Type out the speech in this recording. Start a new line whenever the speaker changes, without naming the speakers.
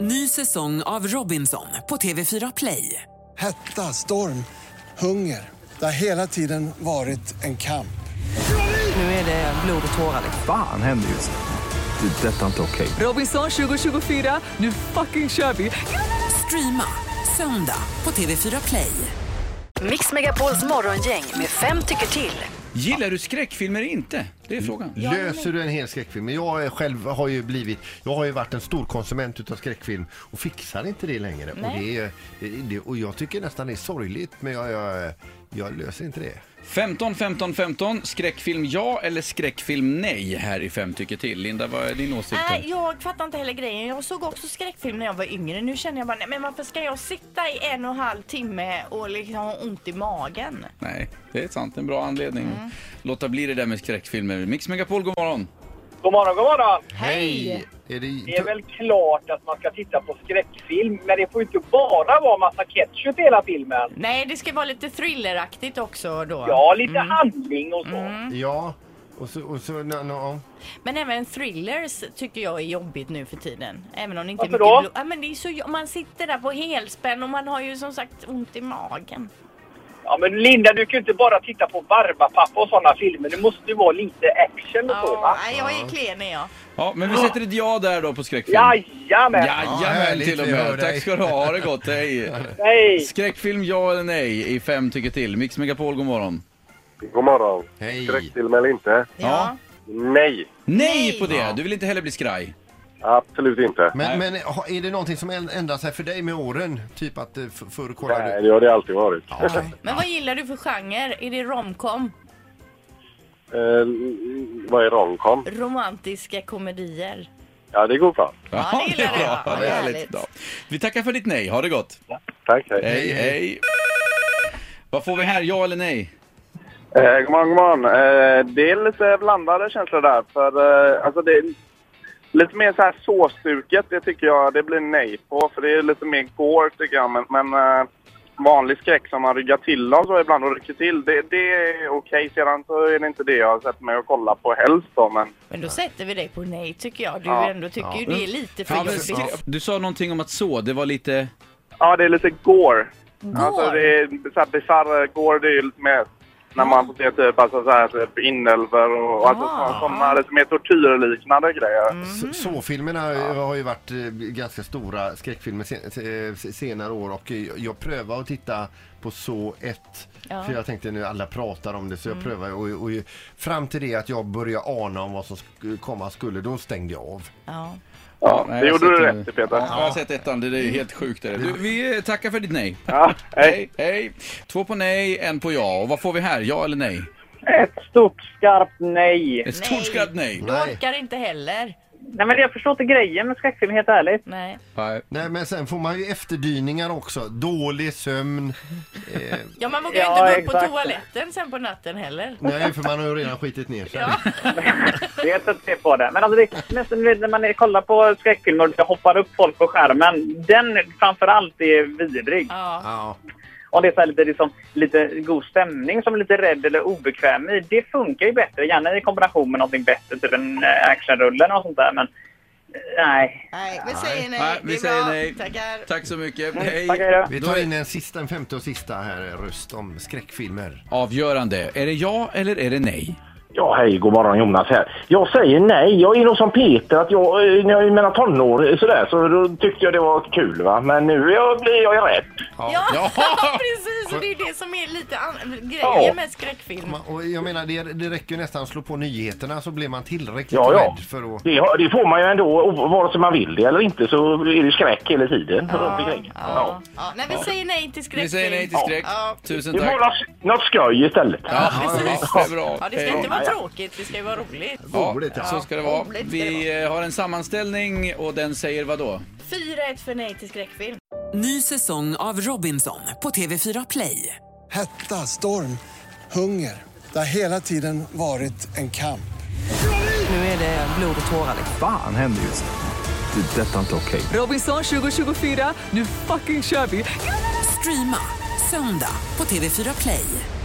Ny säsong av Robinson på TV4 Play.
Hetta, storm, hunger. Det har hela tiden varit en kamp.
Nu är det blod och tårar.
Fan händer just nu. Det. är Detta är inte okej.
Robinson 2024, nu fucking kör vi! Streama söndag på TV4 Play.
Mix Megapols morgongäng med fem tycker till.
Gillar du skräckfilmer inte? Det är frågan.
Löser du en hel skräckfilm? Men Jag är själv har ju blivit, jag har ju varit en stor konsument utav skräckfilm och fixar inte det längre. Och, det är, eh, det, och jag tycker nästan det är sorgligt men jag, jag, jag löser inte det.
15, 15, 15. Skräckfilm ja eller skräckfilm nej här i Fem tycker till. Linda, vad är din åsikt? här?
Nej, jag fattar inte heller grejen. Jag såg också skräckfilm när jag var yngre. Nu känner jag bara, nej, men varför ska jag sitta i en och en halv timme och liksom ha ont i magen?
Nej, det är sant. En bra anledning.
Mm.
Låta bli det där med skräckfilmer. Mix Megapol, god morgon.
God morgon, god morgon!
Hej! Är det,
Det är väl klart att man ska titta på skräckfilm, men det får ju inte bara vara massa ketchup i hela filmen.
Nej, det ska vara lite thrilleraktigt också då.
Ja, lite handling och så.
Mm. Ja, och så... Och så na, na, ja.
Men även thrillers tycker jag är jobbigt nu för tiden. Även om det inte är
Varför
mycket
då?
blod. Ja, men det är så, jo- man sitter där på helspänn och man har ju som sagt ont i magen.
Ja, men Linda, du kan ju inte bara titta på Barbapapa och sådana filmer. Det måste ju vara lite action och så,
Ja,
va?
nej, jag är klen är jag.
Ja, men vi sätter ett ja där då på skräckfilm.
Jajamän!
Jajamän
härligt,
till och
vi hör
med.
dig.
Tack ska du ha. Ha det gott. Hej.
Hej!
Skräckfilm ja eller nej i Fem tycker till. Mix Megapol, god morgon.
God morgon.
Hej.
Skräckfilm eller inte?
Ja.
Nej,
Nej
Nej.
på det. Du vill inte heller bli skraj.
absolut inte.
Men, men ha- är det någonting som äl- ändrar sig för dig med åren? Typ att eh, f- förr kollade
Nej,
du...
det har det alltid varit.
Men vad gillar du för genre? Är det romcom?
Eh, vad är romcom?
Romantiska komedier?
Ja, det går bra.
Ja, det gillar jag.
Ja, det är härligt. Ja. Vi tackar för ditt nej. Ha det gott.
Tack, hej.
Hej, hej. Vad får vi här? Ja eller nej?
Eh, god morgon, god morgon. Eh, det är lite blandade känslor där. För, eh, alltså det är lite mer så här såssuget, det tycker jag det blir nej på. För det är lite mer gore tycker jag. Men, men eh, vanlig skräck som man ryggar till av så ibland och rycker till, det, det är okej. Sedan så är det inte det jag sätter mig och kollar på helst då. Men
Men då sätter vi dig på nej tycker jag. Du
Ja.
ändå tycker ju det är lite för
Ja, men
jobbigt.
skrä- Du sa någonting om att så, det var lite...
ja, det är lite gore.
Gore?
Alltså det är så här bisarr gore, det är ju lite mer när man får se typ, alltså, så här, typ inälvor och alltså,
Ah.
så- sådana lite mer tortyrliknande grejer.
Mm.
Mm.
S- Såfilmerna eh, har ju varit eh, ganska stora skräckfilmer sen, se- eh, se- senare år och eh, jag prövar att titta på Så 1
Ja. Mm.
för jag tänkte nu alla pratar om det så jag prövar och, och fram till det att jag började ana om vad som sk- komma skulle då stängde jag av.
Ja.
Ja,
nej,
det
jag
gjorde
har
du
sett
rätt i, Peter.
Ja, jag har sett ettan, det är ju helt sjukt. Där. Du, vi eh, tackar för ditt nej.
Ja, hej.
Hej, hej. Två på nej, en på ja. Och vad får vi här? Ja eller nej?
Ett stort skarpt nej.
Ett stort skratt nej.
Du orkar inte heller.
Nej men jag förstår inte grejen med skräckfilm helt ärligt.
Nej.
Nej.
Nej men sen får man ju efterdyningar också. Dålig sömn. Eh,
Ja, man vågar
Ja,
ju inte gå upp på
exakt.
toaletten sen på natten heller.
nej för man har ju redan skitit ner sig.
Ja.
Det är ett sätt att se på det. Men alltså det är nästan när man kollar på skräckfilmer och det hoppar upp folk på skärmen. Den framförallt är vidrig.
Ja.
Ja.
Om det är så här lite, liksom, lite god stämning som är lite rädd eller obekväm i. Det funkar ju bättre. Gärna i kombination med någonting bättre. Typ en eh, actionrulle eller något sånt där. Men eh, nej.
Nej, vi säger nej.
Nej,
Det
vi
är
säger
bra.
nej.
Tackar.
Tack så mycket.
Tack, hej
Hej.
då.
Vi tar in en sista, en femte och sista här eh, röst om skräckfilmer.
Avgörande. Är det ja eller är det nej?
Ja, hej, god morgon Jonas här. Jag säger nej. Jag är nog som Peter att jag, eh, när jag i mina tonår sådär, så då tyckte jag det var kul va. Men nu är jag, blir jag ju rädd.
Ja,
Ja.
precis. Och det är ju det som är lite an-
Ja.
grejen med skräckfilm.
Man, och jag menar det, det räcker ju nästan att slå på nyheterna så blir man tillräckligt
Ja, ja.
rädd för att...
Det, har- det får man ju ändå, o- vare sig man vill det eller inte så är det skräck hela tiden runt omkring. Ja.
Ja. Ja. Nej, vi säger nej till skräckfilm.
Vi säger nej till skräck.
Ja.
Tusen
Du får
tack.
något, något skoj istället.
Ja, visst, det är bra.
Ja, det ska inte vara tråkigt, det ska ju vara roligt.
Roligt,
Ja,
ja.
så ska det vara.
Roligt ska det
Vi eh, har en sammanställning och den säger vad då?
4-1 för nej till skräckfilm.
Ny säsong av Robinson på TV4 Play.
Hetta, storm, hunger. Det har hela tiden varit en kamp.
Fan händer just nu. Det. är Detta är inte okej.
Robinson 2024, nu fucking kör vi! Streama söndag på TV4 Play.